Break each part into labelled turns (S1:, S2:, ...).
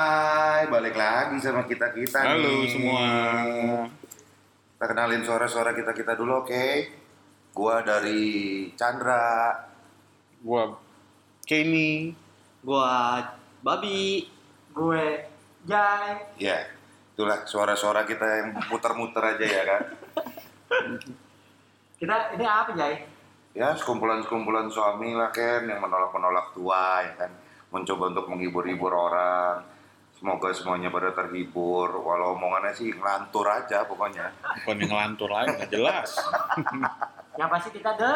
S1: Hai, balik lagi sama kita-kita nih.
S2: Halo semua.
S1: Kita kenalin suara-suara kita-kita dulu, oke? Gua dari Chandra.
S2: Gua Kenny.
S3: gua babi gue jai
S1: Ya, itulah suara-suara kita yang muter-muter aja ya kan?
S3: kita ini apa jai
S1: Ya, sekumpulan-sekumpulan suami lah, Ken, yang menolak-menolak tua, ya kan? Mencoba untuk menghibur-hibur orang. Semoga semuanya pada terhibur. Walau omongannya sih ngelantur aja pokoknya.
S2: Bukan yang ngelantur lagi, nggak jelas.
S3: yang pasti kita the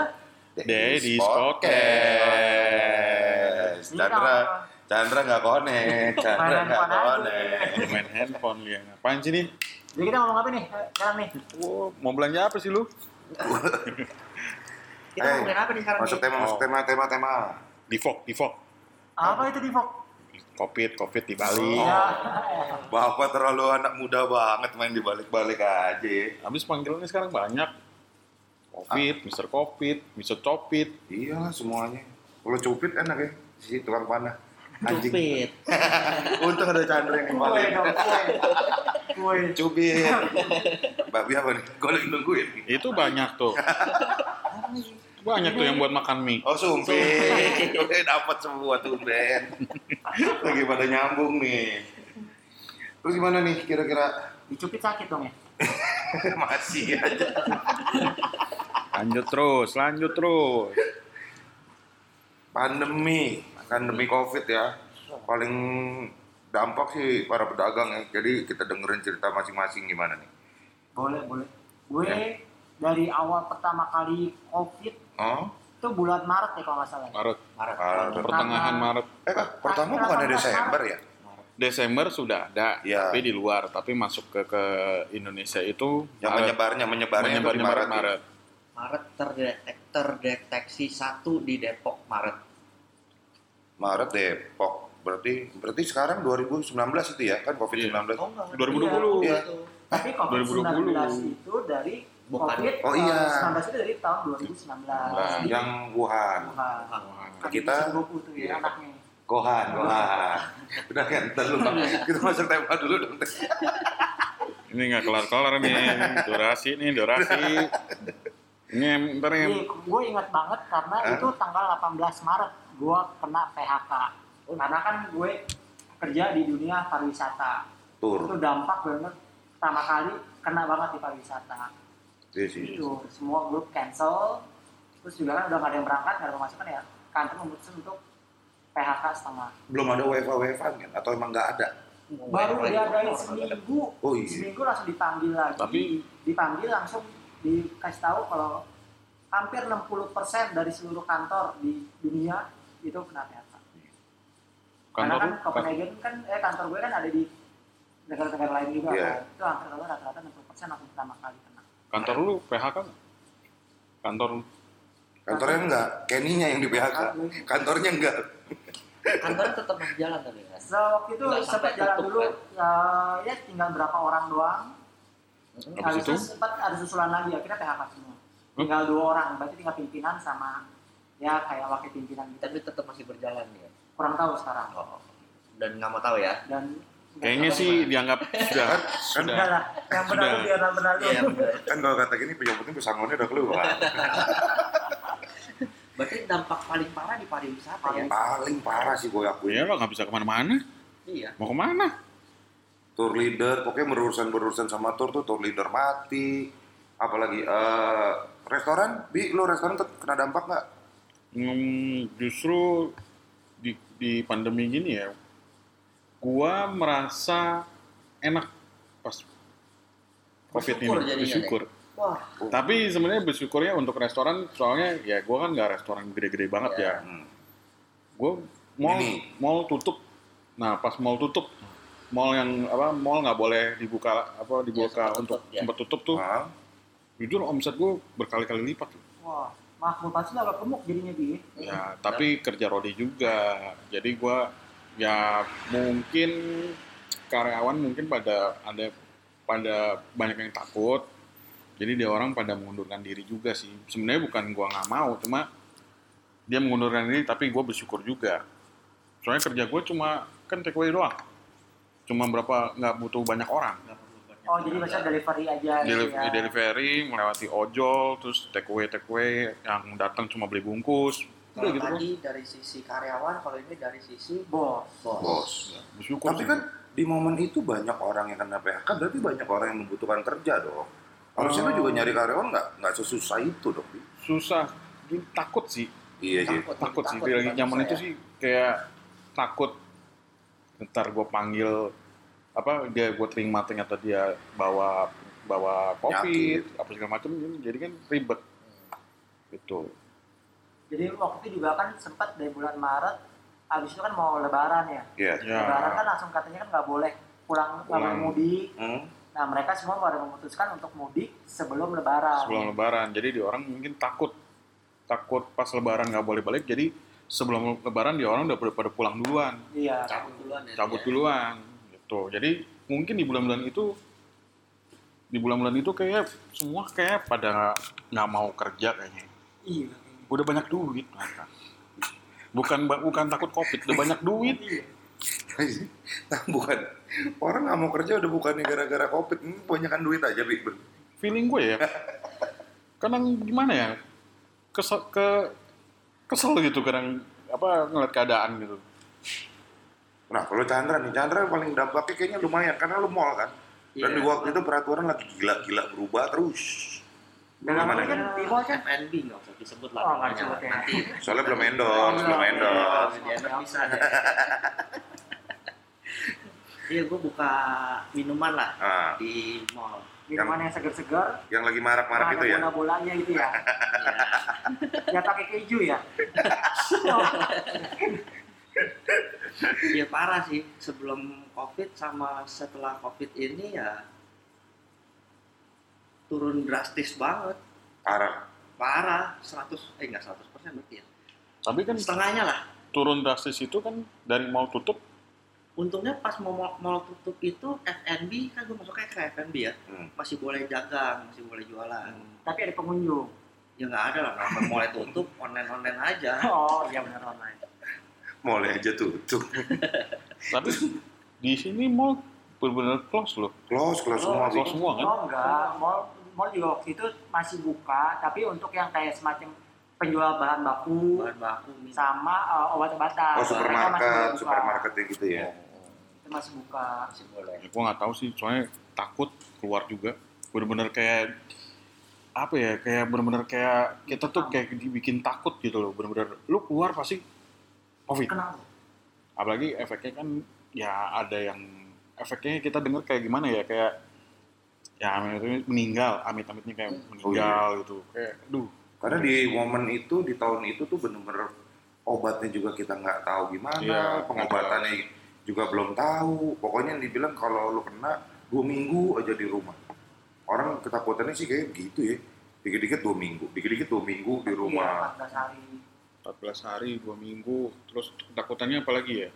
S2: Daddy's
S1: Podcast.
S3: Podcast.
S1: Chandra, Chandra nggak konek. Chandra
S3: Mainan
S1: nggak
S3: phone
S1: konek.
S2: Lu main handphone liang. Apaan sih nih?
S3: jadi kita ngomong apa nih Eh, sekarang nih
S2: Wow, mau belanja apa sih lu?
S3: kita
S1: Eh,
S3: ngomongin apa nih sekarang
S1: Masuk
S3: nih
S1: tema, masuk
S2: Oh.
S1: tema, tema, tema.
S2: Divok, divok.
S3: apa itu divok
S2: Covid, covid di Bali.
S1: Oh.
S3: ya
S1: Bapak terlalu anak muda banget main dibalik-balik aja. ya.
S2: Habis panggilannya sekarang banyak. Covid, Mr. Covid, Mr. Copit.
S1: Iyalah Iya semuanya. Kalau cupit enak ya, si tukang panah. Anjing.
S3: cupit
S1: Untung ada Chandra yang
S3: kue
S1: paling.
S3: dong kue kue
S1: Cubit. Babi apa nih? Gue lagi ya? nungguin.
S2: Itu banyak tuh. banyak tuh yang buat makan mie.
S1: Oh sumpit, oke dapat semua tuh Ben. Lagi pada nyambung nih. Terus gimana nih kira-kira
S3: dicupit sakit dong ya
S1: masih aja?
S2: Lanjut terus, lanjut terus.
S1: Pandemi, pandemi COVID ya. Paling dampak sih para pedagang ya. Jadi kita dengerin cerita masing-masing gimana nih.
S3: boleh boleh gue
S1: Ya.
S3: dari awal pertama kali covid
S1: Oh,
S3: itu bulan maret ya kalau
S1: Eh,
S3: nggak salah
S2: Maret,
S3: maret
S1: Maret.
S2: pertengahan Maret.
S1: eh ah, pertama bukan Desember ya?
S2: Desember sudah ada,
S1: Iya.
S2: tapi di luar. Tapi masuk ke ke Indonesia itu
S1: Yang
S2: Maret.
S1: menyebarnya, menyebarnya, itu di
S2: menyebarnya Maret,
S1: Maret.
S2: Maret.
S4: Maret terdetek, terdeteksi satu di Depok Maret.
S1: Maret Depok. Berarti berarti sekarang 2019 itu ya kan
S2: Iya.
S1: COVID-19.
S4: enggak.
S2: 2020.
S1: Iya.
S4: Itu.
S3: tapi covid
S2: 2020.
S3: 19 itu dari
S4: Bukan.
S3: covid
S1: Oh, iya.
S3: eh, 19 itu dari tahun 2019
S2: Nah,
S3: Di-
S1: Yang Wuhan.
S3: Bukan.
S1: Nah, kita-
S3: Kan Goku tuh ya,
S1: Iya.
S3: anaknya.
S1: Gohan, Gohan. Udah kan, ntar lu
S2: Iya.
S1: kita masuk tema dulu dong.
S2: Ini nggak kelar-kelar nih, durasi nih, durasi. Ini ntar yang
S3: gue ingat banget karena
S1: Hah?
S3: itu tanggal 18 Maret gue kena PHK.
S1: Oh.
S3: Karena kan gue kerja di dunia pariwisata.
S1: Tur,
S3: Itu dampak bener pertama kali kena banget di pariwisata.
S1: Iya sih.
S3: Itu semua grup cancel. Terus juga kan udah gak ada yang berangkat, gak ada pemasukan ya. Kantor memutuskan untuk PHK setengah.
S1: Belum ada UEFA UEFA kan? Atau emang nggak ada?
S3: Baru
S4: Mulai-
S3: diadain
S4: mulai-
S3: seminggu.
S1: Oh iya.
S3: Seminggu langsung dipanggil lagi.
S2: tapi
S3: dipanggil langsung dikasih tahu kalau hampir 60% dari seluruh kantor di dunia itu kena PHK. Karena
S2: kantor
S3: kan
S2: kan,
S3: Copenhagen kan eh kantor gue kan ada di negara-negara lain juga.
S1: Iya.
S3: kan. Itu hampir rata-rata 60% langsung pertama kali kena.
S2: kantor lu PHK nggak? Kantor
S1: Kantornya enggak, Kenny-nya yang di PHK.
S3: Kantor gue.
S1: Kantornya enggak.
S4: Kantornya tetap masih jalan tapi kan.
S3: So, waktu itu
S4: Nggak
S3: sempat
S4: sampai
S3: jalan
S4: tutup,
S3: dulu
S4: kan?
S3: eh, ya tinggal berapa orang doang.
S2: Habis
S3: Habis itu
S2: itu?
S3: sempat ada susulan lagi akhirnya PHK semua. Tinggal dua orang, berarti tinggal pimpinan sama ya kayak wakil pimpinan gitu.
S4: Tapi tetap masih berjalan ya.
S3: Kurang tahu sekarang.
S4: Oh. Dan nggak mau tahu ya.
S3: Dan
S2: kayaknya sih dianggap sudah sudah.
S3: Enggak lah, yang benar
S2: Sudah.
S3: dulu, yang benar dulu.
S4: Iya. bener.
S1: Kan kalau kata gini, pejabatnya pesangonnya udah keluar.
S4: Berarti dampak paling parah di pariwisata
S2: Iya.
S4: ya.
S1: Paling parah sih gue akuin.
S2: Ya lo nggak bisa kemana-mana.
S4: Iya.
S2: Mau kemana?
S1: Tour leader, pokoknya berurusan-berurusan sama tour tuh, tour leader mati. Apalagi eh restoran, Bi, lo restoran tuh kena dampak nggak?
S2: Hmm, justru di di pandemi gini ya, gua merasa enak pas covid
S4: Bersyukur
S2: ini
S4: jadinya,
S2: bersyukur.
S3: Wah,
S2: Tapi sebenarnya bersyukurnya untuk restoran, soalnya ya gua kan nggak restoran gede-gede banget
S4: Ya.
S2: ya.
S1: Hmm.
S2: gue mall
S1: Ini.
S2: mall tutup nah pas mall tutup mall yang apa mall nggak boleh dibuka apa dibuka
S4: sempat
S2: untuk
S4: tutup, ya.
S2: sempat tutup tuh
S1: Ah,
S2: jujur omset gue berkali-kali lipat tuh.
S3: wah, mah gue pasti agak gemuk jadinya bi.
S2: ya tapi kerja rodi juga jadi gue ya mungkin karyawan mungkin pada ada pada banyak yang takut jadi dia orang pada mengundurkan diri juga sih sebenarnya bukan gue nggak mau cuma dia mengundurkan diri tapi gue bersyukur juga soalnya kerja gue cuma kan take away doang cuma berapa nggak butuh banyak orang
S1: Iya.
S4: Nggak perlu banyak
S3: Oh jadi
S2: Iya.
S3: biasanya delivery aja
S2: Deli-
S3: gitu ya.
S2: delivery melewati ojol terus take away take away yang datang cuma beli bungkus
S4: Kalau
S2: udah gitu
S1: Iya.
S2: kan
S4: tadi dari sisi karyawan, kalau ini dari sisi
S3: Bos.
S4: bos.
S1: Bos.
S2: bersyukur
S1: Tapi
S2: sih.
S1: kan di momen itu banyak orang yang kena PHK, berarti banyak orang yang membutuhkan kerja dong. Harusnya lu
S2: Oh.
S1: juga nyari karyawan nggak nggak sesusah itu dong. Bi.
S2: susah Jadi takut sih
S1: Iya sih.
S4: Oh, Takut,
S2: takut, sih
S4: takut,
S2: lagi
S4: bukan
S2: zaman
S4: susah
S2: itu
S4: ya.
S2: sih kayak takut ntar gue panggil apa dia gue terima ternyata dia bawa bawa covid apa segala macam jadi kan ribet gitu
S3: Jadi waktu itu juga kan sempat dari bulan Maret, habis itu kan mau Lebaran ya.
S1: Iya.
S3: Lebaran
S2: ya
S3: kan langsung katanya kan nggak boleh pulang, nggak boleh
S2: Pulang.
S3: mudik.
S1: Hmm.
S3: Nah mereka semua pada memutuskan untuk mudik sebelum Lebaran.
S2: sebelum lebaran jadi di orang mungkin takut takut pas lebaran nggak boleh balik jadi sebelum lebaran dia orang udah pada pada pulang duluan
S3: Iya.
S4: Cabut duluan ya.
S2: cabut
S4: dia.
S2: duluan gitu jadi mungkin di bulan-bulan itu di bulan-bulan itu kayak semua kayak pada nggak mau kerja kayaknya
S3: Iya.
S2: udah banyak duit mereka bukan bukan takut covid udah banyak duit
S3: Iya.
S1: Nah, bukan orang nggak mau kerja udah bukannya gara-gara covid, ini kebanyakan duit aja bi.
S2: feeling gue ya kadang gimana ya kesel ke kesel gitu kadang apa ngeliat keadaan gitu
S1: Nah kalau Chandra nih, Chandra paling dampaknya kayaknya lumayan karena lu mall kan. Dan di
S4: Iya.
S1: waktu itu peraturan lagi gila-gila berubah terus.
S3: Dan
S1: Gimana?
S3: mungkin
S4: Di
S3: Timo
S4: mall
S3: kan
S4: kan NB nggak usah disebut lah
S3: Oh, nggak
S4: namanya.
S3: disebut ya.
S4: Nanti
S1: Soalnya belum
S4: Iya,
S1: endorse, belum endorse.
S4: Dia enak bisa deh. Iya, gue buka minuman lah
S1: Nah,
S4: di mall.
S3: minuman yang segar-segar,
S1: yang lagi marak-marak
S3: ada
S1: itu ya.
S3: bola-bolanya gitu ya.
S4: Iya.
S3: ya pakai keju ya.
S4: Iya parah sih sebelum covid sama setelah covid ini ya turun drastis banget
S1: Parah.
S4: parah 100 eh enggak 100 persen berarti ya
S2: tapi kan
S4: setengahnya lah
S2: turun drastis itu kan dari mau tutup
S4: untungnya pas mau mau, mau tutup itu F&B kan gue masuknya ke F&B ya
S1: Hmm.
S4: masih boleh dagang masih boleh jualan
S3: Tapi ada pengunjung.
S4: ya nggak ada lah kenapa mulai tutup online online aja
S3: Oh iya benar online.
S1: Mallnya aja tutup.
S2: tapi di sini mau benar-benar close loh
S1: Close, close semua bi.
S2: close semua kan
S3: Oh enggak, mall mall juga waktu itu masih buka, tapi untuk yang kayak semacam penjual bahan baku
S4: bahan baku minum.
S3: sama eh, obat-obatan.
S1: Oh
S3: Mereka
S1: supermarket,
S3: masih boleh buka.
S1: supermarket yang gitu ya.
S3: Itu masih buka.
S4: masih boleh
S2: ya, gue nggak tahu sih soalnya takut keluar juga bener-bener kayak apa ya kayak bener-bener kayak kita tuh kayak dibikin takut gitu loh bener-bener lu keluar pasti covid
S3: Kenapa?
S2: apalagi efeknya kan ya ada yang efeknya kita dengar kayak gimana ya kayak ya amit-amit meninggal amit-amitnya kayak meninggal gitu kayak duh
S1: Karena di momen itu, di tahun itu tuh bener-bener obatnya juga kita nggak tahu gimana,
S2: Iya,
S1: pengobatannya juga belum tahu. Pokoknya yang dibilang kalau lu kena dua minggu aja di rumah. Orang ketakutannya sih kayak gitu ya. Dikit-dikit dua minggu, dikit-dikit dua minggu di rumah.
S3: Iya, 14 hari.
S2: 14 hari dua minggu terus ketakutannya apalagi ya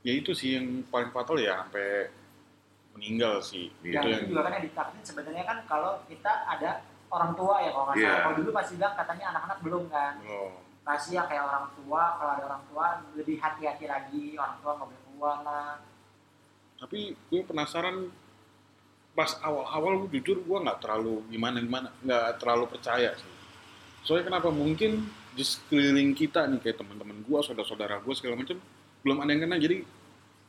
S2: ya itu sih yang paling fatal ya sampai meninggal sih
S1: Iya.
S3: Yang
S2: itu
S3: itu juga kan yang ditakutin sebenarnya kan kalau kita ada orang tua ya kalau nggak salah.
S1: Iya.
S3: Kalau dulu pasti bilang katanya anak-anak belum kan.
S2: belum
S3: Masih ya kayak orang tua, kalau ada orang tua lebih hati-hati lagi, orang tua nggak boleh keluar lah.
S2: tapi gue penasaran pas awal-awal gue jujur gue nggak terlalu gimana gimana nggak terlalu percaya sih soalnya kenapa mungkin di sekeliling kita nih kayak teman-teman gue saudara-saudara gue segala macam belum ada yang kena jadi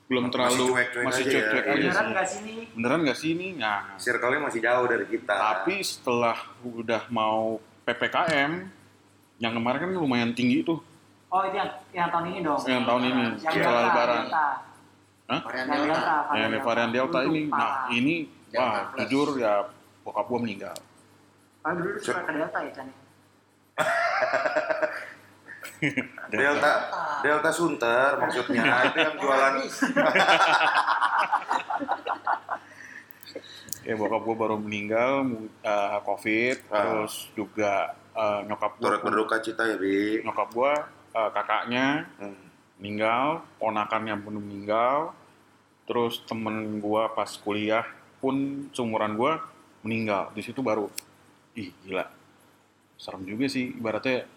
S2: belum
S1: Masih
S2: terlalu
S1: cuek-cuek
S2: masih
S1: aja ya.
S2: cuek-cuek aja,
S1: Iya
S3: Beneran
S2: sih.
S3: nggak sih nih?
S2: beneran nggak sih ini nah
S1: Circle-nya masih jauh dari kita.
S2: tapi setelah udah mau ppkm yang kemarin kan lumayan tinggi tuh
S3: Oh itu yang, yang tahun ini dong.
S2: yang tahun ini
S3: Yang
S1: Iya.
S2: setelah
S3: Delta,
S2: lebaran
S3: Delta.
S4: varian
S3: Yang Delta.
S4: delta
S2: yang varian delta
S3: Itu
S2: ini nah
S3: parah.
S2: ini
S4: Delta
S2: wah
S4: plus.
S2: jujur ya bokap gue meninggal
S3: Kalau dulu suka ke Delta ya kan?
S1: Delta, Delta Sunter maksudnya itu yang jualan
S4: Iya.
S2: ya bokap gue baru meninggal mu- eh, covid
S1: Ah.
S2: terus juga eh, nyokap gue
S1: turut berduka cita ya bi.
S2: nyokap gue eh, kakaknya
S1: Hmm.
S2: meninggal ponakannya pun meninggal terus temen gue pas kuliah pun seumuran gue meninggal di situ baru ih gila serem juga sih ibaratnya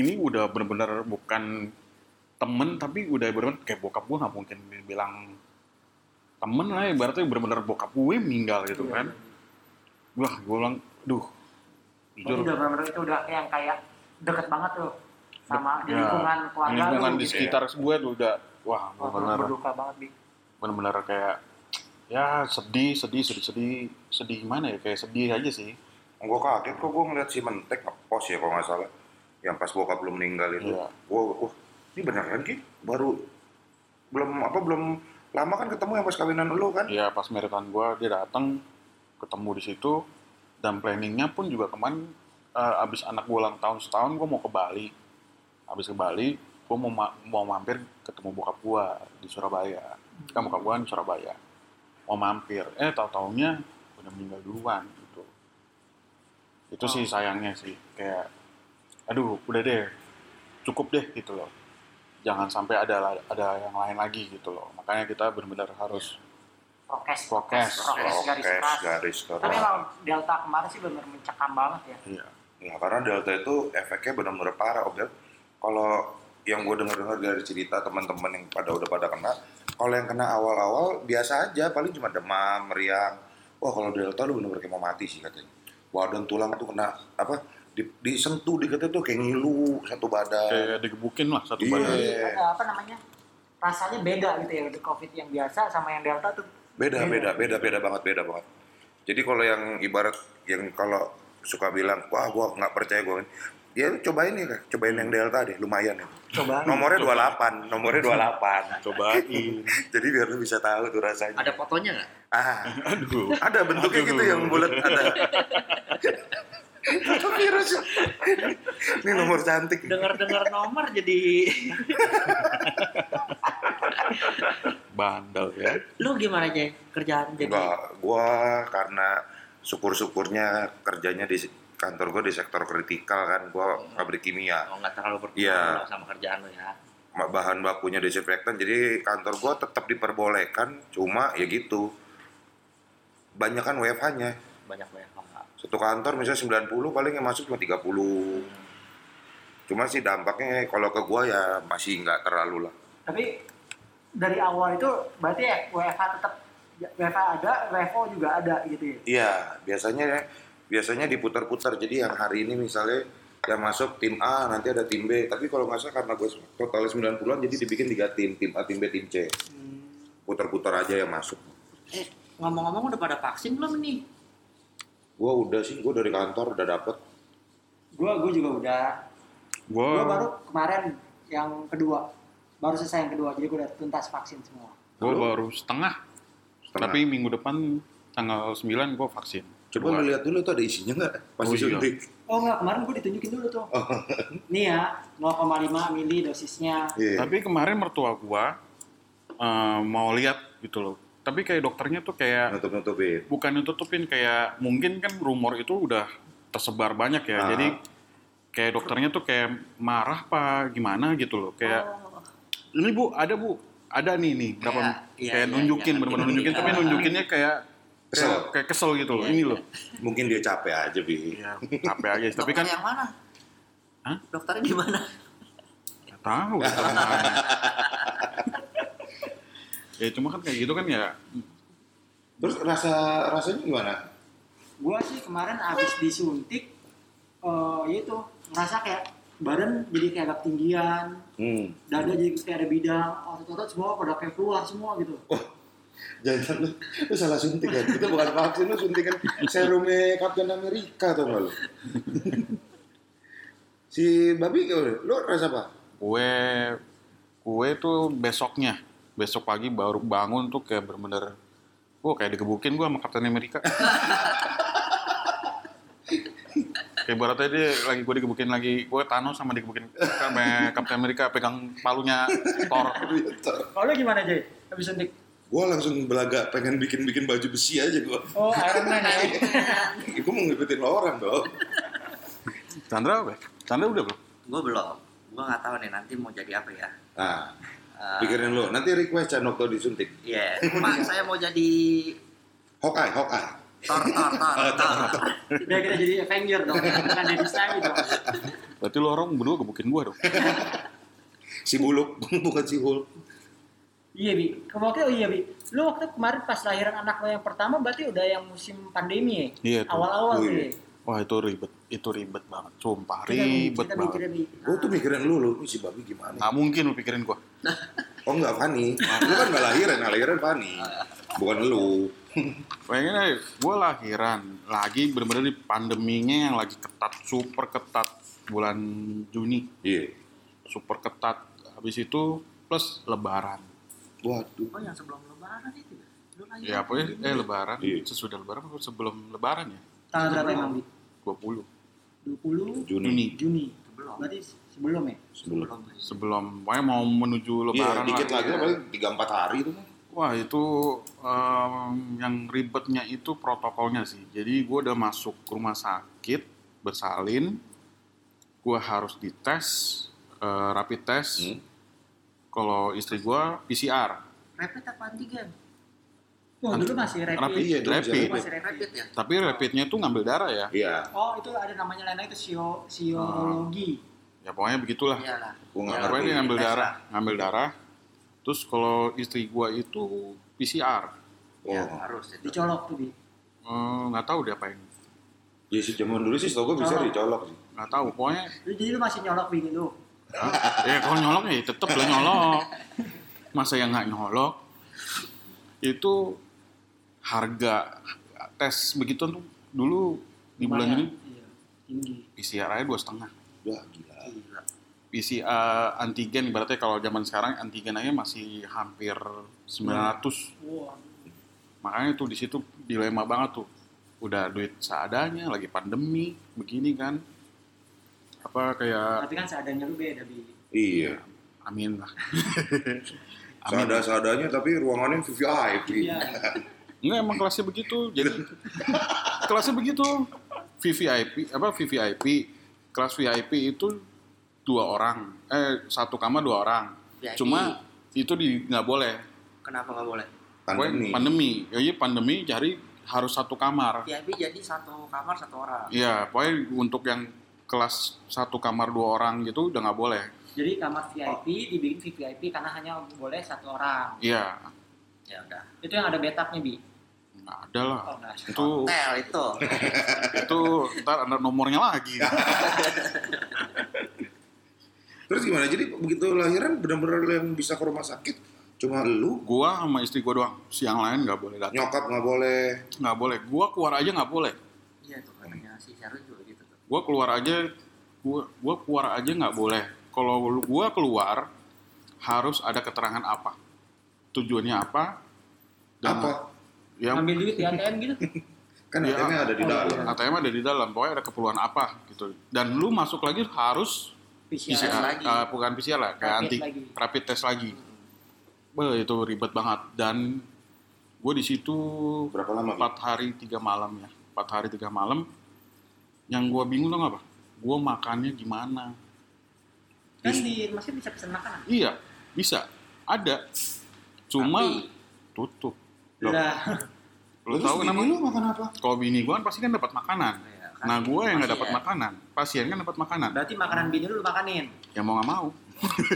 S2: ini udah bener-bener bukan temen tapi udah bener-bener kayak bokap gue nggak mungkin bilang temen lah ibaratnya bener-bener bokap gue meninggal gitu
S3: Iya,
S2: kan wah gue bilang duh
S3: Itu iya, Oh, udah
S2: jujur
S3: benar-benar itu udah yang kayak deket banget tuh sama di
S2: Ya,
S3: lingkungan keluarga
S2: di lingkungan
S3: lu
S2: di
S3: gitu.
S2: sekitar gue tuh udah wah
S3: Wah,
S2: bener-bener
S3: berduka banget Bi.
S2: bener-bener kayak ya sedih sedih sedih sedih sedih gimana ya kayak sedih aja sih
S1: Gue kaget kok gue ngeliat si Mentek ngepost ya kalau nggak salah. Yang pas bokap belum meninggal itu.
S2: Iya.
S1: Gue, wah ini beneran Ki? Baru, belum apa, belum lama kan ketemu yang pas kawinan lo kan?
S2: ya
S3: Iya,
S2: pas meritan gue dia datang ketemu di situ dan planningnya pun juga kemarin eh, abis anak gue ulang tahun setahun gue mau ke Bali abis ke Bali gue mau ma- mau mampir ketemu bokap gue di Surabaya kan bokap gue di Surabaya mau mampir eh tahu taunya udah meninggal duluan gitu itu sih sayangnya sih kayak aduh udah deh cukup deh gitu loh jangan sampai ada ada yang lain lagi gitu loh makanya kita benar-benar harus
S3: prokes
S2: Prokes,
S3: prokes garis keras
S1: garis keras.
S3: tapi emang delta kemarin sih benar mencekam banget ya
S2: Iya.
S1: Ya, karena Delta itu efeknya benar-benar parah, Obel. Kalau yang gue dengar-dengar dari cerita teman-teman yang pada udah pada kena, kalau yang kena awal-awal biasa aja, paling cuma demam, meriang. Wah, kalau Delta lu benar-benar kayak mau mati sih katanya. Badan tulang tuh kena apa? Di, disentuh dikata tuh kayak ngilu satu badan.
S2: Kayak digebukin lah satu
S1: Iya.
S2: badan.
S1: Eh.
S3: Ada apa namanya rasanya beda gitu ya untuk covid yang biasa sama yang delta tuh
S1: Beda, beda, beda, beda banget, beda banget. Jadi kalau yang ibarat yang kalau suka bilang, wah gua nggak percaya gua, ya lu cobain ya, Kak. cobain yang Delta deh, lumayan ya.
S3: coba
S1: Nomornya 28, nomornya 28.
S2: Cobain.
S1: Jadi biar lu bisa tahu tuh rasanya.
S4: Ada fotonya nggak?
S1: Ah,
S2: Aduh.
S1: ada bentuknya
S2: Aduh.
S1: gitu yang bulat ada. Itu virus. Ini nomor cantik.
S4: Dengar-dengar nomor jadi
S2: Bandel ya.
S4: lu gimana aja kerjaan jadi
S1: Enggak, gua karena syukur-syukurnya kerjanya di kantor gua di sektor kritikal kan, gua pabrik kimia.
S4: Oh, nggak terlalu berpengaruh
S1: Iya.
S4: sama kerjaan lu ya.
S1: Bahan bakunya disinfektan, jadi kantor gua tetap diperbolehkan, cuma ya gitu. Banyak kan WFH-nya.
S4: Banyak banyak nggak.
S1: Satu kantor misalnya 90, paling yang masuk cuma 30. Cuma sih dampaknya kalau ke gua ya masih nggak terlalu lah.
S3: tapi dari awal itu berarti ya WFH tetap WFH ada WFO juga ada gitu ya
S1: Iya, biasanya biasanya diputar-putar. Jadi yang hari ini misalnya yang masuk tim A, nanti ada tim B. Tapi kalau nggak salah karena gue total 90-an jadi dibikin tiga tim, tim A, tim B, tim C. Putar-putar aja yang masuk.
S4: Hmm. Eh ngomong-ngomong udah pada vaksin belum nih?
S1: Gua udah sih, gua dari kantor udah dapet.
S3: gua gua juga udah
S1: Oh.
S3: gua baru
S2: Gue
S3: kemarin yang kedua baru selesai yang kedua jadi gua udah tuntas vaksin semua
S2: gue baru setengah.
S1: Setengah.
S2: Tapi minggu depan tanggal 9 gue vaksin.
S1: Coba
S2: Gua-
S1: lu lihat dulu tuh ada isinya nggak pas
S2: Oh, iya.
S1: disuntik.
S3: oh enggak kemarin gua ditunjukin dulu tuh
S2: Oh.
S3: nih ya 0,5 mili dosisnya
S1: Iya.
S2: Tapi kemarin mertua gue mau lihat gitu loh. Tapi kayak dokternya tuh kayak
S1: Nutup-nutupin.
S2: bukan nutupin kayak mungkin kan rumor itu udah tersebar banyak ya.
S1: Ah.
S2: Jadi kayak dokternya tuh kayak marah apa gimana gitu loh. Kayak ini bu ada bu ada nih nih berapa
S4: Kayak,
S2: kayak
S4: Oh. iya, iya,
S2: nunjukin
S4: iya,
S2: benar-benar
S4: iya,
S2: nunjukin
S4: iya.
S2: tapi nunjukinnya kayak
S1: Kesel.
S2: kayak, kayak kesel gitu loh
S4: Iya,
S2: ini
S4: iya.
S2: loh
S1: Mungkin dia capek aja, Bi.
S2: ya capek aja sih. tapi
S4: Dokternya
S2: kan
S4: yang mana?
S2: Hah?
S4: Dokternya di mana?
S2: nggak tahu ya. ya cuma kan kayak gitu kan ya
S1: Terus rasa rasanya gimana?
S3: gua sih kemarin abis disuntik eh itu ngerasa kayak badan jadi kayak agak tinggian
S1: Hmm.
S3: dada jadi kayak ada bidang otot-otot semua pada kayak keluar semua gitu
S1: Jangan lu, lu salah suntik kan? Itu bukan vaksin, lu suntikan serumnya Captain Amerika tau gak lu? si Babi gimana? Lu rasa apa?
S2: gue gue tuh besoknya besok pagi baru bangun tuh kayak bener-bener gue kayak digebukin gue sama Captain America kayak baratnya dia lagi gue digebukin lagi gue Thanos sama digebukin sama Captain America pegang palunya Thor
S3: kalau lu gimana Jay? abis suntik
S1: Gue langsung belaga pengen bikin-bikin baju besi aja gue.
S3: oh Iron Man ya
S1: Gue mau ngikutin orang dong.
S2: Chandra apa? Chandra udah belum?
S4: Gue belum. Gue nggak tahu nih nanti mau jadi apa ya.
S1: Nah,
S4: Eh,
S1: pikirin lu. Nanti request Canokto disuntik.
S4: Iya. Mak saya mau jadi
S1: Hokai, hokai.
S4: tor tor tor tor.
S3: Udah kita jadi Avenger dong, ya. bukan jadi Stanley dong.
S2: Berarti lo orang berdua gebukin gue dong.
S1: Si Buluk, bukan si Hulk.
S3: Iya bi, kemarin oh iya bi, lu waktu kemarin pas lahiran anak lo yang pertama berarti udah yang musim pandemi
S2: Iya,
S3: ya?
S2: tuh.
S3: Awal-awal
S1: Wih.
S3: tuh.
S2: Wah itu ribet, itu ribet banget, sumpah
S3: Kita bi-
S2: ribet
S3: kita
S2: banget.
S3: mikirin bi.
S1: Gue tuh mikirin lu, lu "Ih, si babi gimana?
S2: Nggak mungkin lu pikirin gua.
S1: Oh enggak, Fani. Lu kan enggak lahiran, nah, lahiran Fani. Bukan lu.
S2: Bayangin aja, gue lahiran lagi bener-bener di pandeminya yang lagi ketat, super ketat bulan Juni,
S1: Iya.
S2: super ketat. Habis itu plus Lebaran.
S1: Waduh.
S4: Oh yang sebelum lebaran itu ya? Lu lagi
S2: Ya pokoknya eh Lebaran,
S1: Iya.
S2: sesudah Lebaran atau sebelum Lebaran ya?
S3: Tanggal berapa emang bi?
S2: 20
S1: Juni.
S3: 20
S2: Juni.
S3: Juni.
S4: sebelum.
S3: Berarti sebelum ya?
S1: Sebelum.
S2: Sebelum, pokoknya mau menuju
S1: Iya,
S2: Lebaran
S1: dikit
S2: lah.
S1: lagi lah, paling 3-4 hari itu. kan.
S2: Wah itu em, yang ribetnya itu protokolnya sih. Jadi gue udah masuk rumah sakit bersalin, gue harus dites eh, rapid test.
S1: Hmm.
S2: Kalau istri gue PCR,
S4: Rapid apa antigen?
S3: Wah Oh, dulu masih rapid.
S2: Kan Rapid,
S1: Iya, dulu
S2: rapid.
S1: jarang.
S4: Masih rapid ya?
S2: tapi rapidnya itu ngambil darah ya.
S1: Iya,
S3: Oh itu ada namanya lain lagi itu sio siologi.
S2: Ya pokoknya begitulah.
S4: Iyalah.
S1: gua nggak
S4: Ya,
S2: Pokoknya dia
S1: ngerti.
S2: ngambil
S4: tes
S2: darah,
S4: lah.
S2: ngambil darah. Terus kalau istri gue itu PCR, Oh.
S4: Ya
S1: Wah.
S4: harus itu.
S3: Dicolok tuh bi.
S2: Eh, nggak tahu diapain,
S1: Ya sih zaman dulu sih, setahu gue bisa
S3: Colok.
S1: dicolok sih.
S2: nggak tahu. Pokoknya
S3: Lu jadi lu masih nyolok bi lu.
S2: ya kalau nyolong ya tetep lah nyolong masa yang nggak nyolong itu harga tes begitu tuh dulu di bulan
S3: Lumayan.
S2: Juni
S3: Iya. Tinggi.
S2: PCR aja dua setengah
S1: Wah, gila.
S4: Gila.
S2: PCR antigen berarti kalau zaman sekarang antigen aja masih hampir 900
S3: Wah.
S2: makanya tuh di situ dilema banget tuh udah duit seadanya lagi pandemi begini kan apa kayak
S3: Tapi kan seadanya lu beda bi.
S1: Iya.
S2: amin lah amin
S1: Seada-seadanya tapi ruangannya VIP.
S3: Iya.
S2: Enggak emang kelasnya begitu. Jadi kelasnya begitu. VVIP apa VVIP kelas VIP itu dua orang eh satu kamar dua orang.
S4: VIP.
S2: Cuma itu di nggak boleh.
S4: Kenapa nggak boleh?
S1: Pandemi.
S2: Pokoknya Pandemi. Ya iya pandemi jadi harus satu kamar.
S4: VIP jadi satu kamar satu orang.
S2: Iya, pokoknya untuk yang kelas satu kamar dua orang gitu udah nggak boleh.
S3: Jadi kamar VIP dibikin VVIP karena hanya boleh satu orang.
S2: Iya,
S4: Ya udah.
S3: Itu yang ada betapnya bi.
S2: nggak ada lah.
S3: Oh enggak.
S2: Itu
S4: Hotel itu.
S2: itu ntar ada nomornya lagi.
S1: Terus gimana? Jadi begitu lahiran benar-benar yang bisa ke rumah sakit cuma lu,
S2: gua sama istri gua doang. Siang lain nggak boleh datang.
S1: nyokap nggak boleh.
S2: Nggak boleh. Gua keluar aja nggak boleh.
S4: Iya tuh katanya si Sharon juga gitu tuh.
S2: gue keluar aja gue gua keluar aja nggak boleh kalau lu- gua keluar harus ada keterangan apa tujuannya apa dan-
S1: Apa?
S2: ya
S3: Ambil duit di ATM gitu.
S1: Kan
S2: Ya,
S1: ATM-nya ada di
S3: oh,
S1: dalam.
S3: iya.
S2: ATM ada di dalam pokoknya ada keperluan apa gitu dan lu masuk lagi harus
S3: PCR.
S2: PCR
S4: lagi.
S2: eh, bukan PCR lah kayak
S3: Iya, Rapid
S2: anti
S3: lagi.
S2: rapid test lagi Beuh, itu ribet banget dan gue di situ
S1: Berapa lama? Bi?
S2: empat hari tiga malam ya empat hari tiga malam yang gue bingung tuh apa gue makannya gimana
S3: Kan di masih bisa pesan makanan.
S2: Iya, bisa. Ada. Cuma
S4: Tapi-
S2: tutup. Loh,
S3: Lah,
S1: Iya. Terus
S2: Lu tahu
S1: bini
S2: kenapa?
S1: lu makan apa?
S2: Kalau bini gua kan pasti kan dapat makanan.
S4: Iya, kan?
S2: Nah, gua yang nggak dapat
S4: Pasien.
S2: makanan. Pasien kan dapat makanan.
S3: berarti makanan bini lu lu makanin.
S2: Ya mau nggak mau.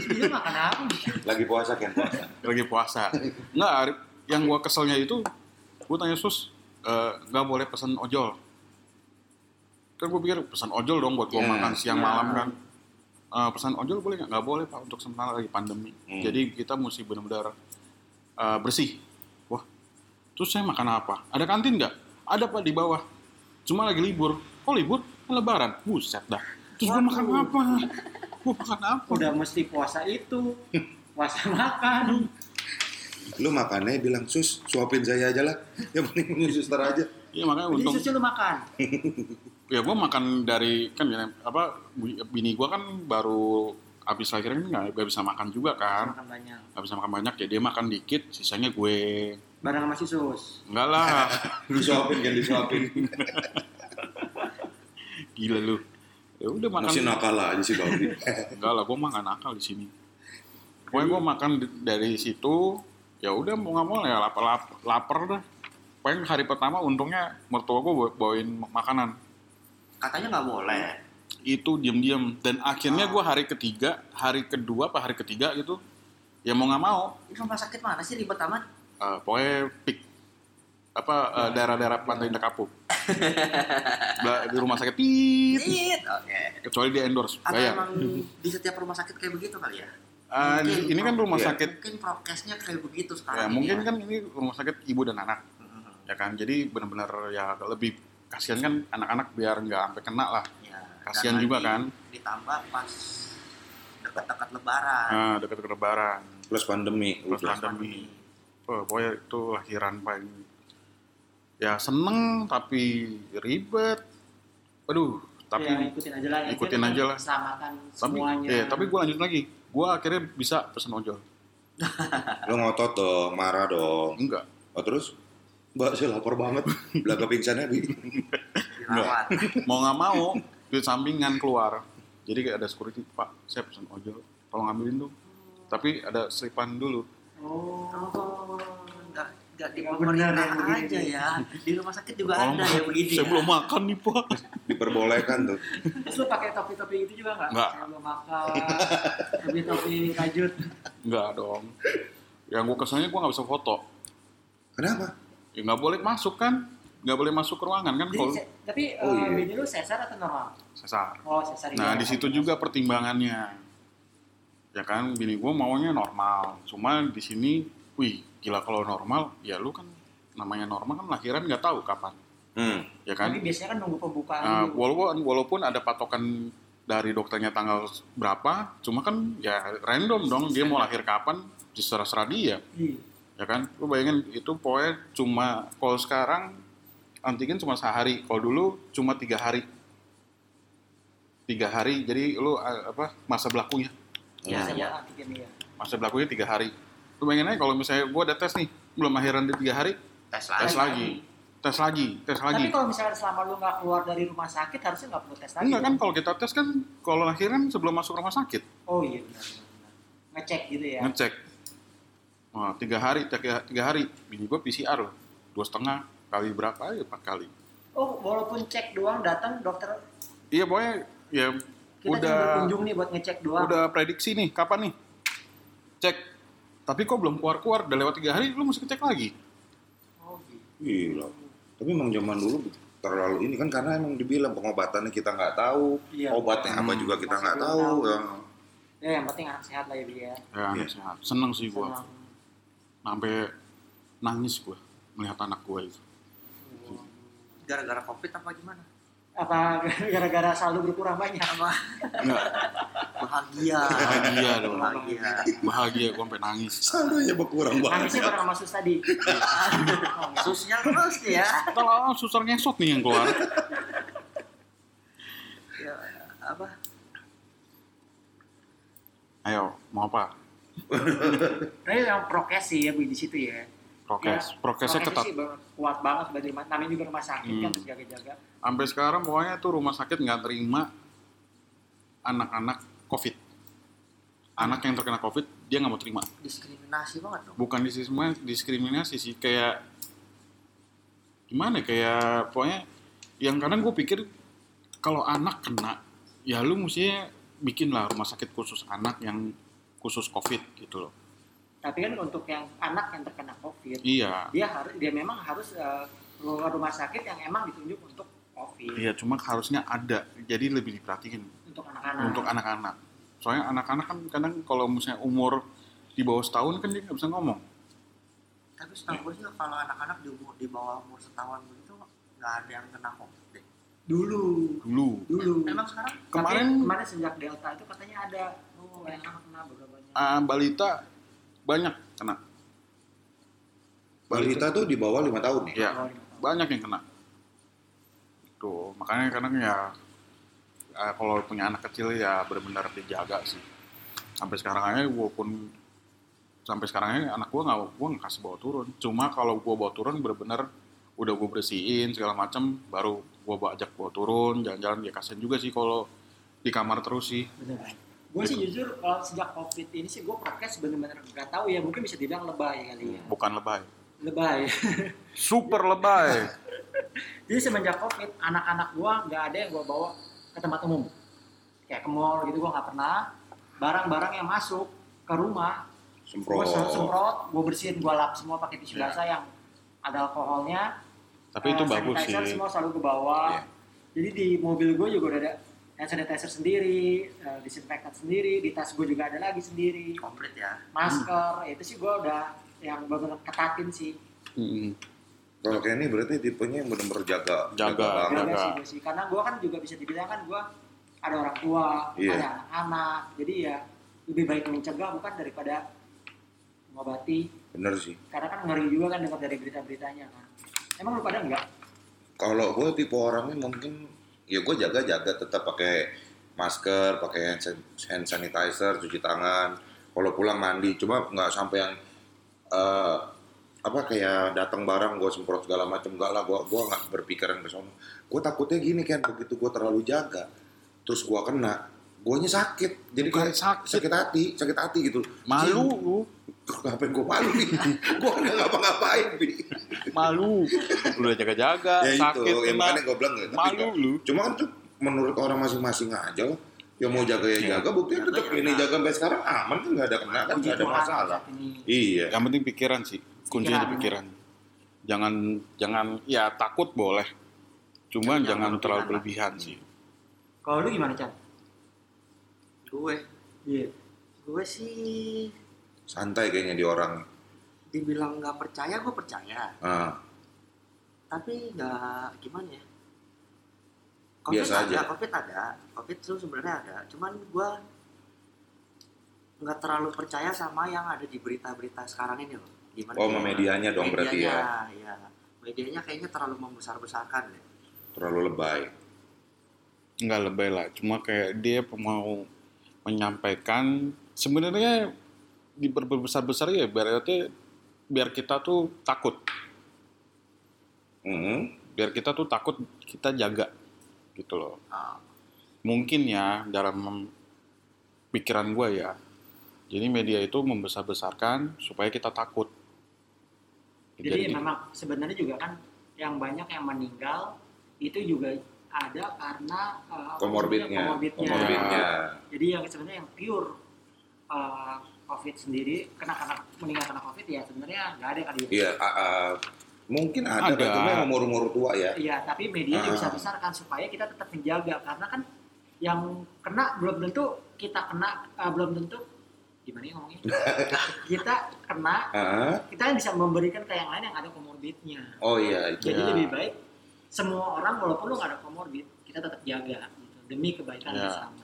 S3: Bini lu makan apa?
S1: Lagi puasa kan puasa.
S2: Lagi puasa. Nggak, Arif. Yang gua keselnya itu, gua tanya sus, eh, nggak boleh pesan ojol. Kan gua pikir pesan ojol dong buat gua
S1: Iya,
S2: makan siang
S3: iya.
S2: malam kan. Eh, pesan ojol boleh nggak? Nggak boleh pak untuk sementara lagi pandemi.
S1: Hmm.
S2: Jadi kita mesti benar-benar eh, bersih. Wah, terus saya makan apa? Ada kantin nggak? Ada pak di bawah. Cuma lagi libur. Kok libur? Kan Lebaran. Buset dah. Terus gua makan
S3: Waduh.
S2: apa? Gua makan apa?
S3: Udah mesti puasa itu. Puasa makan.
S1: Lu makannya bilang, sus, suapin saya aja lah. Yang penting punya suster aja.
S2: Iya makanya
S3: Jadi
S2: untung.
S3: susu lu makan.
S2: ya gue makan dari kan ya, apa bu- bini gue kan baru habis lahiran kan nggak- nggak bisa makan juga kan
S3: Makan banyak.
S2: nggak bisa makan banyak ya dia makan dikit sisanya gue
S3: Barang sama si sus.
S2: enggak lah
S1: Disuapin kan, disuapin.
S2: gila lu ya udah makan
S1: Masih nakal lah aja Eh, sih Babi.
S2: enggak lah gue makan nakal di sini pokoknya gue makan di- dari situ ya udah mau nggak mau ya lapar lapar, lapar dah pokoknya hari pertama untungnya mertua gue bawain makanan
S4: Katanya nggak boleh.
S2: itu diam-diam dan akhirnya gue hari ketiga hari kedua apa hari ketiga gitu ya mau nggak mau
S4: Ini Oh, rumah sakit mana sih ribet amat?
S2: eh, pokoknya pik apa
S4: Iya.
S2: eh, daerah-daerah pantai indah kapuk Ba- di rumah sakit pit
S4: Tit. Oke.
S2: kecuali di endorse
S4: Iya. Atau
S2: bayar
S4: emang di setiap rumah sakit kayak begitu kali ya?
S2: Eh, di- ini kan rumah
S1: Iya.
S2: sakit
S4: Mungkin prokesnya kayak begitu
S2: ya
S4: sekarang. ini
S2: mungkin
S4: ya.
S2: kan ini rumah sakit ibu dan anak
S4: Mhm.
S2: ya kan jadi benar-benar ya lebih kasihan kan anak-anak biar nggak sampai kena lah
S4: Ya, dan
S2: Kasihan
S4: lagi
S2: juga kan.
S4: Ditambah pas dekat-dekat lebaran.
S2: nah, dekat-dekat lebaran
S1: Plus pandemi.
S2: Plus
S1: udah.
S2: pandemi. oh, pokoknya itu lahiran paling ya seneng tapi ribet aduh tapi
S4: Iya,
S3: Ya, ikutin aja lah.
S2: ikutin
S3: Itu
S2: aja lah.
S3: Keselamatan
S2: tapi
S3: semuanya.
S2: ya, tapi gue lanjut lagi gue akhirnya bisa pesen ojol
S1: Lu ngotot dong, marah dong.
S2: enggak
S1: Oh terus? Mbak, saya lapar banget. Belaga pingsannya di
S4: Dirawat.
S2: mau nggak mau duit sampingan keluar jadi kayak ada security pak saya pesen ojol tolong ambilin dong tapi ada selipan dulu
S3: Oh.
S4: Nggak nggak di
S3: Nggak
S4: pemerintah
S3: benar yang begini.
S4: aja ya. Di rumah sakit juga
S2: Tolong,
S4: ada
S2: Pak.
S4: yang begini.
S2: saya
S4: ya.
S2: belum makan nih pak
S1: diperbolehkan tuh.
S3: Terus lu pakai topi-topi itu juga nggak?
S2: Nggak.
S3: Saya belum makan. Topi-topi kajut.
S2: enggak dong yang gue kesannya gue nggak bisa foto
S1: Kenapa?
S2: ya nggak boleh masuk kan nggak boleh masuk ke ruangan kan
S3: Jadi,
S2: kalau
S3: se- tapi
S1: Oh,
S3: eh,
S1: iya.
S3: bini lu sesar atau normal?
S2: sesar
S3: Oh, sesar.
S2: nah
S3: iya.
S2: di situ juga pertimbangannya ya kan bini gue maunya normal cuma di sini wih gila kalau normal ya lu kan namanya normal kan lahiran nggak tahu kapan
S1: Hmm.
S2: ya kan
S3: Tapi biasanya kan nunggu pembukaan
S2: Nah,
S3: dulu.
S2: walaupun walaupun ada patokan dari dokternya tanggal berapa, cuma kan ya random dong dia mau lahir kapan diserah-serah dia,
S3: Iya.
S2: ya kan? Lu bayangin itu pokoknya cuma kalau sekarang antigen cuma sehari, kalau dulu cuma tiga hari, tiga hari. Jadi lu a- apa masa berlakunya?
S4: Ya,
S3: Saya
S4: ya.
S3: mau antigen, iya.
S2: Masa berlakunya tiga hari. Lu bayangin aja kalau misalnya gua ada tes nih, belum lahiran di tiga hari,
S4: Tes
S2: tes
S4: lagi.
S2: lagi, tes lagi, tes lagi.
S3: Tapi kalau misalkan selama lu nggak keluar dari rumah sakit harusnya nggak perlu tes lagi.
S2: Enggak kan
S3: dong?
S2: kalau kita tes kan kalau lahiran sebelum masuk rumah sakit.
S3: Oh iya benar. benar. Ngecek gitu ya.
S2: ngecek Wah, tiga hari tiga, tiga hari bini gue PCR loh dua setengah kali berapa ya empat kali
S3: Oh walaupun cek doang datang dokter
S2: iya pokoknya ya
S3: kita cuma
S2: udah
S3: berkunjung nih buat ngecek doang.
S2: udah prediksi nih kapan nih cek tapi kok belum keluar keluar udah lewat tiga hari lu mesti cek lagi
S3: Oh gitu.
S1: Gila. Tapi emang zaman dulu terlalu ini kan karena emang dibilang pengobatannya kita nggak tahu,
S3: Iya.
S1: obatnya apa
S2: Hmm.
S1: juga kita
S3: Masih
S1: nggak
S3: belum
S1: tahu.
S3: tahu.
S1: Ya.
S3: Ya yang penting anak sehat lah ya Bi ya.
S2: ya
S1: Iya.
S2: sehat. seneng sih gue
S3: Senang.
S2: sampai nangis gue melihat anak gue itu
S4: Gara-gara covid apa gimana?
S3: Apa gara-gara saldo berkurang banyak?
S2: Enggak,
S4: Bahagia.
S2: bahagia dong
S3: Iya.
S4: Bahagia.
S2: bahagia gue sampai nangis
S1: Saldonya berkurang banget.
S3: Nangisnya bareng sama sus tadi. Oh, enggak.
S4: Susnya terus nih ya.
S2: kalau susah ngesot nih yang keluar
S4: ya apa?
S2: ayo mau apa
S3: Tapi yang prokes sih ya Bu, di situ ya.
S2: prokes
S3: Ya,
S2: prokesnya ketat
S3: sih bang- kuat banget bagi rumah- namanya juga rumah sakit kan
S2: Hmm.
S3: harus jaga-jaga.
S2: sampai sekarang pokoknya tuh rumah sakit nggak terima anak-anak covid anak yang terkena covid dia nggak mau terima
S4: Diskriminasi banget dong.
S2: bukan di sisi semua diskriminasi sih kayak gimana ya, kayak pokoknya yang kadang gue pikir kalau anak kena ya lu mestinya bikin lah rumah sakit khusus anak yang khusus covid gitu loh
S3: Tapi kan untuk yang anak yang terkena COVID,
S2: iya
S3: dia harus dia memang harus eh, keluar rumah sakit yang emang ditunjuk untuk COVID
S2: iya cuma harusnya ada jadi lebih diperhatiin
S3: untuk anak-anak.
S2: untuk anak-anak. Soalnya anak-anak kan kadang kalau misalnya umur di bawah setahun kan dia nggak bisa ngomong.
S4: Tapi setahu gue sih kalau anak-anak di, umur- di bawah umur setahun begitu nggak ada yang kena covid deh.
S3: dulu
S2: Dulu
S3: dulu.
S4: Emang sekarang
S3: Tapi
S2: Kemarin-
S3: kemarin sejak Delta itu katanya ada oh yang anak kena beberapa banyak.
S2: ah, balita banyak kena,
S1: Balita tuh di bawah lima tahun ya.
S2: ya banyak yang kena. Tuh makanya kadang ya ah, kalau punya anak kecil ya benar-benar dijaga sih. Sampai sekarang aja gue pun sampai sekarang aja anak gue nggak gue nggak kasih bawa turun. Cuma kalau gue bawa turun benar-benar udah gue bersihin segala macam baru gue ajak bawa turun jalan-jalan dia kasihan juga sih kalau di kamar terus sih
S3: Beneran. Gue sih jujur kalau sejak COVID ini sih gue prokes bener-bener nggak tahu ya mungkin bisa dibilang lebay kali ya.
S2: bukan lebay
S3: Lebay.
S2: super lebay
S3: Jadi semenjak COVID, anak-anak gua nggak ada yang gua bawa ke tempat umum. Kayak ke mall gitu gua nggak pernah. Barang-barang yang masuk ke rumah
S2: Semprot.
S3: Gue semprot, gue bersihin, gue lap semua pakai tisu
S2: Iya.
S3: basah yang ada alkoholnya.
S2: Tapi itu
S3: Eh,
S2: bagus
S3: sanitizer
S2: sih.
S3: semua selalu ke bawah.
S2: Iya.
S3: Jadi di mobil gue juga udah ada hand sanitizer sendiri, eh, disinfektan sendiri, di tas gue juga ada lagi sendiri.
S4: komplit ya
S3: Masker, itu sih gue udah yang benar ketatin sih.
S2: Mm-mm.
S1: Kalau kayak ini berarti tipenya yang benar-benar jaga. banget.
S2: Jaga.
S3: Jaga
S2: Agak.
S3: sih, gua sih. Karena gue kan juga bisa dibilang kan gue ada orang tua,
S1: Iya.
S3: ada anak-anak. Jadi ya lebih baik mencegah bukan daripada mengobati.
S2: Iya.
S1: Bener sih.
S3: Karena kan ngeri juga kan dengar dari berita-beritanya kan. Emang lu pada enggak?
S1: Kalau gue tipe orangnya mungkin ya gue jaga-jaga tetap pakai masker, pakai hand san- hand sanitizer, cuci tangan. Kalau pulang mandi, cuma nggak sampai yang eh, apa kayak datang barang gue semprot segala macam gak lah gue gua nggak berpikiran ke sono gue takutnya gini kan begitu gue terlalu jaga terus gue kena guanya sakit jadi
S2: Bukan
S1: kayak
S2: sakit.
S1: sakit hati sakit hati gitu
S2: Malu lu,
S1: ngapain gue malu nih gue nggak ngapa-ngapain Bi.
S2: malu. Lu udah jaga-jaga,
S1: ya
S2: Eh, sakit
S1: itu yang
S2: kena.
S1: makanya gue bilang ya, tapi
S2: Malu
S1: nggak-
S2: lu.
S1: cuma kan tuh menurut orang masing-masing aja lah yang mau jaga
S2: Iya.
S1: ya jaga buktinya tetap ini jaga sampai sekarang aman kan nggak ada kena kan nggak ada
S3: Puji Tuhan,
S1: masalah
S3: saat ini.
S1: iya
S2: Yang penting pikiran sih. Kuncinya di pikiran.
S3: Pikiran.
S2: Jangan jangan ya takut boleh. Cuma
S4: Tapi
S2: jangan
S4: jangan
S2: terlalu berlebihan
S4: berlebihan
S2: sih.
S3: Kalau lu gimana, Chan?
S4: gue
S3: Iya.
S4: gue sih
S1: santai kayaknya di orang
S4: dibilang nggak percaya gue percaya
S1: Ah,
S4: tapi nggak gimana ya
S1: Biasa
S4: ada,
S1: aja.
S4: covid ada covid tuh sebenarnya ada cuman gue nggak terlalu percaya sama yang ada di berita-berita sekarang ini loh gimana ya?
S1: oh sama medianya dong berarti ya
S4: Medianya, ya medianya kayaknya terlalu membesar-besarkan deh
S1: terlalu lebay
S2: Enggak lebay lah. Cuma kayak dia mau menyampaikan sebenarnya diperbesar-besar ya berarti biar kita tuh takut.
S1: Mhm.
S2: Biar kita tuh takut kita jaga gitu loh.
S4: Ah,
S2: mungkin ya dalam pikiran gue ya jadi media itu membesar-besarkan supaya kita takut
S5: Jadi memang sebenarnya juga kan yang banyak yang meninggal itu juga ada karena eh, apa
S1: komorbidnya
S5: namanya, komorbidnya.
S1: komorbidnya
S5: Jadi yang sebenarnya yang pure eh, COVID sendiri kena karena meninggal karena COVID ya sebenanya nggak ada kali. ya.
S1: iya ah, ah. mungkin ada,
S2: Ada.
S1: ada. cuma yang umur-umur tua ya
S5: Iya, tapi media
S1: Ah.
S5: bisa besarkan supaya kita tetap menjaga karena kan yang kena belum tentu kita kena eh, belum tentu gimana ya ngomongnya kita kena
S1: Ah,
S5: kita kan bisa memberikan ke yang lain yang ada komorbidnya.
S1: oh iya itu
S5: Jadi
S2: Ya.
S5: lebih baik semua orang walaupun lu nggak ada komorbid, kita tetap jaga gitu, demi kebaikan
S2: Ya.
S5: bersama.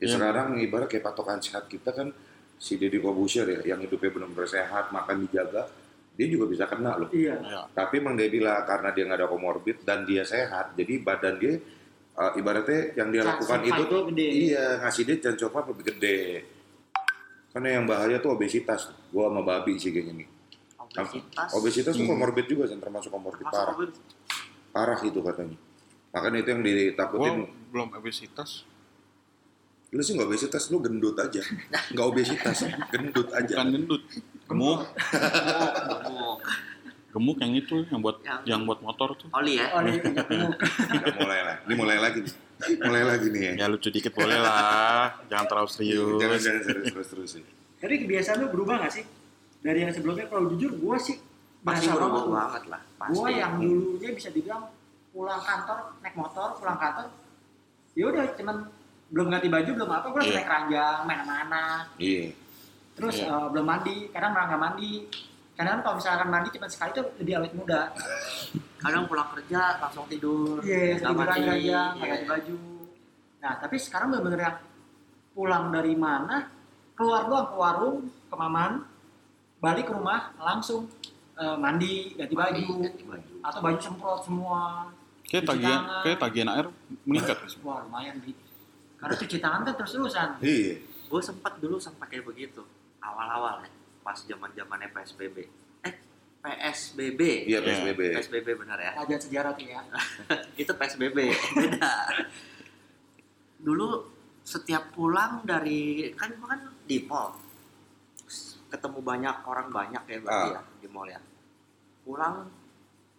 S1: Ya,
S2: Iya.
S1: sekarang ibarat kayak patokan sehat kita kan si Deddy Kobusher ya yang hidupnya benar-benar sehat, makan dijaga, dia juga bisa kena loh.
S5: Iya.
S2: ya,
S1: Tapi emang dia bilang karena dia nggak ada komorbid dan dia sehat, jadi badan dia eh, ibaratnya yang dia
S5: Chance
S1: lakukan
S5: of
S1: itu
S5: fight-nya
S1: tuh
S5: gede. gitu.
S1: iya ngasih dia chance of fight lebih gede. Karena yang bahaya tuh obesitas. Gua sama babi sih kayaknya nih.
S4: obesitas
S1: Obesitas tuh
S2: Hmm.
S1: komorbid juga kan termasuk komorbid
S4: masuk
S1: parah.
S4: obesitas
S1: Parah itu katanya. Makanya itu yang
S2: gue
S1: ditakutin.
S2: belum obesitas
S1: Lu sih nggak obesitas, lu gendut aja. Nggak obesitas, gendut aja.
S2: bukan gendut gemuk
S4: gemuk.
S2: gemuk yang itu yang buat
S4: Yang-
S2: yang buat motor tuh
S4: oli ya
S5: Iya. Oleh
S1: Udah mulai lah. Ini mulai lagi nih. Mulai lagi nih ya. Iya,
S2: ya lucu dikit boleh lah jangan terlalu
S1: Jangan
S2: serius
S1: jangan serius terus terus sih.
S5: Tapi kebiasaan lu berubah nggak sih? Dari yang sebelumnya kalau jujur gue sih
S4: pasti
S5: berasa
S4: berubah
S5: banget.
S4: banget lah pasti
S5: Gue yang dulunya bisa dibilang pulang kantor naik motor pulang kantor ya udah cuman belum ganti baju belum apa gue langsung
S2: Iya.
S5: naik keranjang main sama anak
S1: Iya.
S5: terus
S2: Iya.
S5: eh, belum mandi kadang malah nggak mandi kadang kalau misalkan mandi cuma sekali tuh lebih awet muda
S4: kadang pulang kerja langsung tidur
S5: Iya,
S4: nggak
S5: tiduran
S4: mandi
S5: aja, nggak
S4: iya.
S5: ganti baju. Nah, tapi sekarang bener-bener yang pulang dari mana, keluar doang ke warung, ke maman, balik ke rumah, langsung eh, mandi, ganti
S4: Mandi,
S5: baju,
S4: ganti Iya, baju.
S5: atau baju semprot semua.
S2: kayak
S5: Cuci
S2: tagihan
S5: tangan.
S2: kayak tagihan air meningkat
S5: Wah, lumayan, Bi. Karena cuci tangan kan terus-terusan.
S1: Iya.
S4: gue sempat dulu sempat kayak begitu awal-awal ya pas zaman zamannya psbb eh psbb
S1: Iya PSBB.
S4: psbb benar ya
S5: Pelajaran sejarah tuh ya.
S4: itu psbb beda dulu setiap pulang dari kan gua kan di mall ketemu banyak orang banyak ya berarti
S1: Ah.
S4: ya di mall ya pulang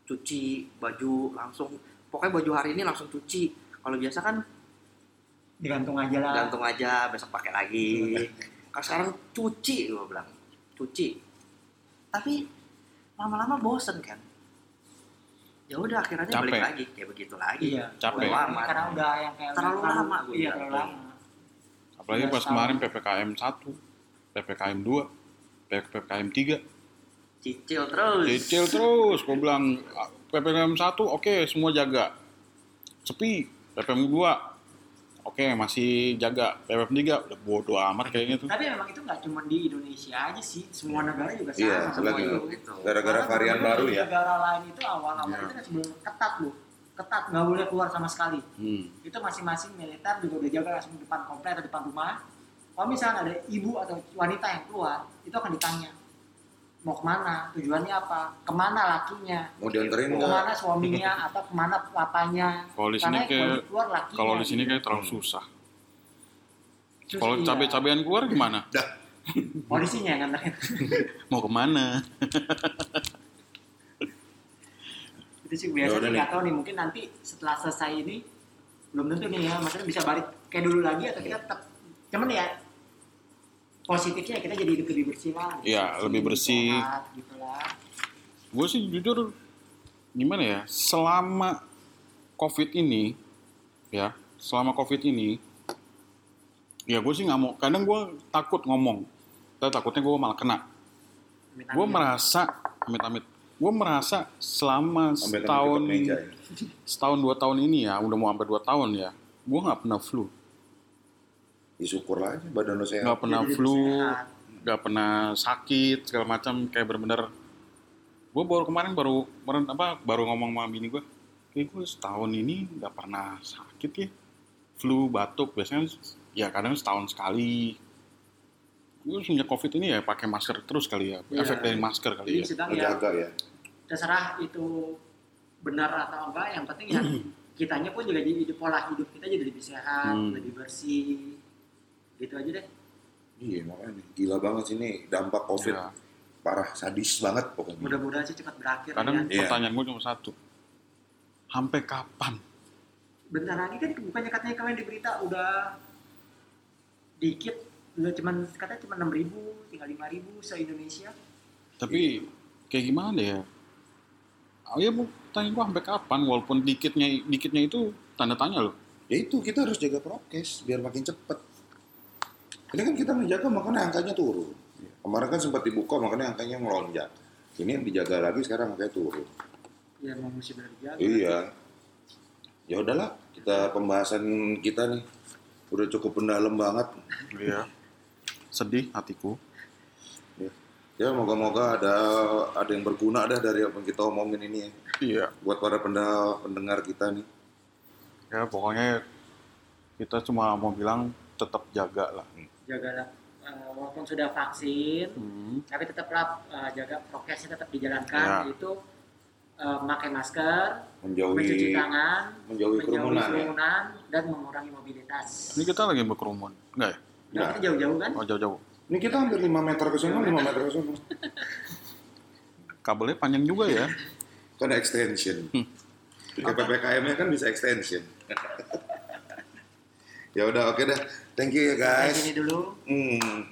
S4: cuci baju langsung pokoknya baju hari ini langsung cuci kalau biasa kan
S5: Digantung aja lah.
S4: gantung aja besok pakai lagi kalau sekarang cuci gue bilang cuci tapi lama-lama bosen kan ya udah akhirnya
S2: Capek.
S4: balik lagi kayak begitu lagi
S3: Iya.
S2: Capek.
S4: Bodo amat.
S3: karena udah yang kayak
S4: Terlalu lama gue
S3: iya
S4: bilang.
S3: terlalu lama
S2: Apalagi
S3: Iya,
S2: pas
S3: sama.
S2: kemarin PPKM 1, PPKM 2, PPKM 3.
S4: cicil terus
S2: Cicil terus, gue bilang "Ah, PPKM 1 oke semua jaga. Sepi, PPKM 2 oke masih jaga. PPKM 3 udah bodo amat kayaknya tuh.
S3: tapi memang itu nggak cuma di Indonesia aja sih semua negara juga sama
S1: Iya,
S3: semua
S1: lagi
S3: itu.
S4: gitu.
S1: gara-gara
S3: Karena
S1: varian
S3: kemudian
S1: baru
S3: di
S1: ya. Iya.
S3: negara lain itu awal-awal itu kan sebelum ketat loh ketat nggak boleh keluar sama sekali
S2: Hmm.
S3: itu masing-masing militer juga udah jaga langsung depan komplek atau depan rumah kalau misalnya ada ibu atau wanita yang keluar itu akan ditanya mau kemana tujuannya apa kemana lakinya
S1: Mau dianterin nggak?
S3: kemana suaminya atau kemana papanya
S2: Kalau di sini
S3: karena
S2: kayak-
S3: kalau keluar lakinya
S2: Kalau di sini kayak terlalu susah.
S3: Susah,
S2: Kalau
S3: iya.
S2: cabai-cabean keluar gimana?
S3: polisinya yang nganterin
S2: Mau kemana?
S3: itu sih
S2: Ya
S3: biasanya
S1: Yaudah nih.
S3: nggak tahu nih mungkin nanti setelah selesai ini belum tentu nih ya maksudnya bisa balik kayak dulu lagi atau kita tetap cuman ya positifnya kita jadi hidup lebih bersih lah
S2: Iya, lebih bersih.
S3: sehat gitu lah
S2: gue sih jujur gimana ya selama covid ini ya selama covid ini ya gue sih nggak mau kadang gue takut ngomong tapi takutnya gue malah kena
S3: Iya.
S2: gue merasa amit-amit gue merasa selama
S1: Ambil temen
S2: setahun
S1: di meja ya.
S2: setahun dua tahun ini ya udah mau hampir dua tahun ya gue nggak pernah flu
S1: Ya syukur lah aja badan lo sehat.
S2: nggak pernah
S3: Ya, Jadi
S2: flu
S3: sehat.
S2: nggak pernah sakit segala macam kayak bener-bener gue baru kemarin baru kemarin apa baru ngomong sama bini gue kayak gue setahun ini nggak pernah sakit ya flu batuk biasanya ya kadang setahun sekali gue sejak covid ini ya pakai masker terus kali ya
S3: Iya.
S2: efek dari masker kali
S3: Jadi
S2: ya
S3: sedang ya
S1: Menjaga ya.
S3: terserah itu benar atau enggak yang penting ya kitanya pun juga jadi hidup pola hidup kita jadi lebih sehat
S2: Hmm.
S3: lebih bersih gitu aja deh
S1: Iya makanya gila banget sih ini dampak covid
S2: Iya.
S1: parah sadis banget pokoknya.
S3: mudah-mudahan sih cepat berakhir
S2: kadang
S3: ya.
S1: Iya.
S2: pertanyaan gue cuma satu sampai kapan
S3: bentar lagi kan bukannya katanya kemarin di berita udah dikit udah cuman katanya cuma enam ribu tinggal lima ribu se Indonesia
S2: tapi kayak gimana ya oh ya bu tanya gue sampai kapan walaupun dikitnya dikitnya itu tanda tanya loh
S1: Ya itu kita harus jaga prokes biar makin cepet. Ini kan kita menjaga makanya angkanya turun.
S2: Iya.
S1: Kemarin kan sempat dibuka makanya angkanya melonjak. Ini yang dijaga lagi sekarang angkanya turun.
S3: ya mau mesti berjaga
S1: Iya. Ya udahlah, kita pembahasan kita nih udah cukup mendalam banget.
S2: Iya. Sedih hatiku.
S1: Ya moga-moga ada ada yang berguna dah dari apa yang kita omongin ini ya.
S2: Iya.
S1: Buat para penda- pendengar kita nih.
S2: Ya pokoknya kita cuma mau bilang tetap jaga lah.
S3: jagalah Eh, walaupun sudah vaksin
S2: Hmm.
S3: tapi tetaplah eh, jaga prokesnya tetap dijalankan
S2: Ya.
S3: yaitu eh, pakai masker, mencuci
S1: Menjauhi
S3: tangan,
S1: menjauhi kerumunan ya.
S3: kerumunan, dan mengurangi mobilitas.
S2: Ini kita lagi berkerumun, enggak ya?
S3: Nah, kita jauh-jauh kan?
S2: Oh jauh-jauh.
S1: Ini kita hampir 5 meter ke sana, 5 meter ke sana.
S2: Kabelnya panjang juga ya.
S1: Kan ada extension. Kayak PPKM-nya kan bisa extension. ya udah oke dah. Thank you ya
S3: Kayak
S1: guys.
S3: gini dulu,
S1: Hmm.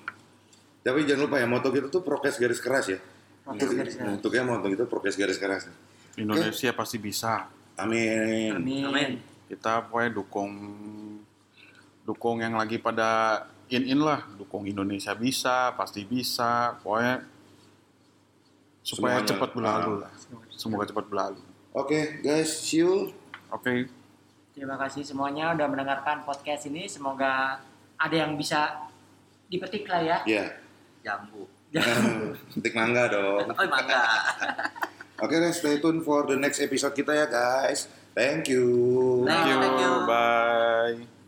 S1: Tapi jangan lupa ya, moto kita tuh prokes garis keras ya.
S3: prokes garis
S1: Nah,
S3: keras.
S1: Untuk ya moto kita prokes garis keras.
S2: Indonesia pasti bisa.
S1: Amin.
S3: Amin.
S4: Amin.
S2: Kita pokoknya dukung dukung yang lagi pada in-in lah, dukung Indonesia bisa, pasti bisa. Pokoknya supaya
S1: Semuanya.
S2: cepat berlalu lah.
S3: Semoga.
S2: Semoga cepat berlalu.
S1: Oke guys, see you.
S2: Oke.
S3: Terima kasih semuanya udah mendengarkan podcast ini. Semoga ada yang bisa dipetik lah ya.
S1: Ya.
S4: jambu
S1: Petik mangga dong.
S4: oh mangga
S1: Oke guys, stay tune for the next episode kita ya guys. Thank you.
S4: Thank you.
S2: Bye.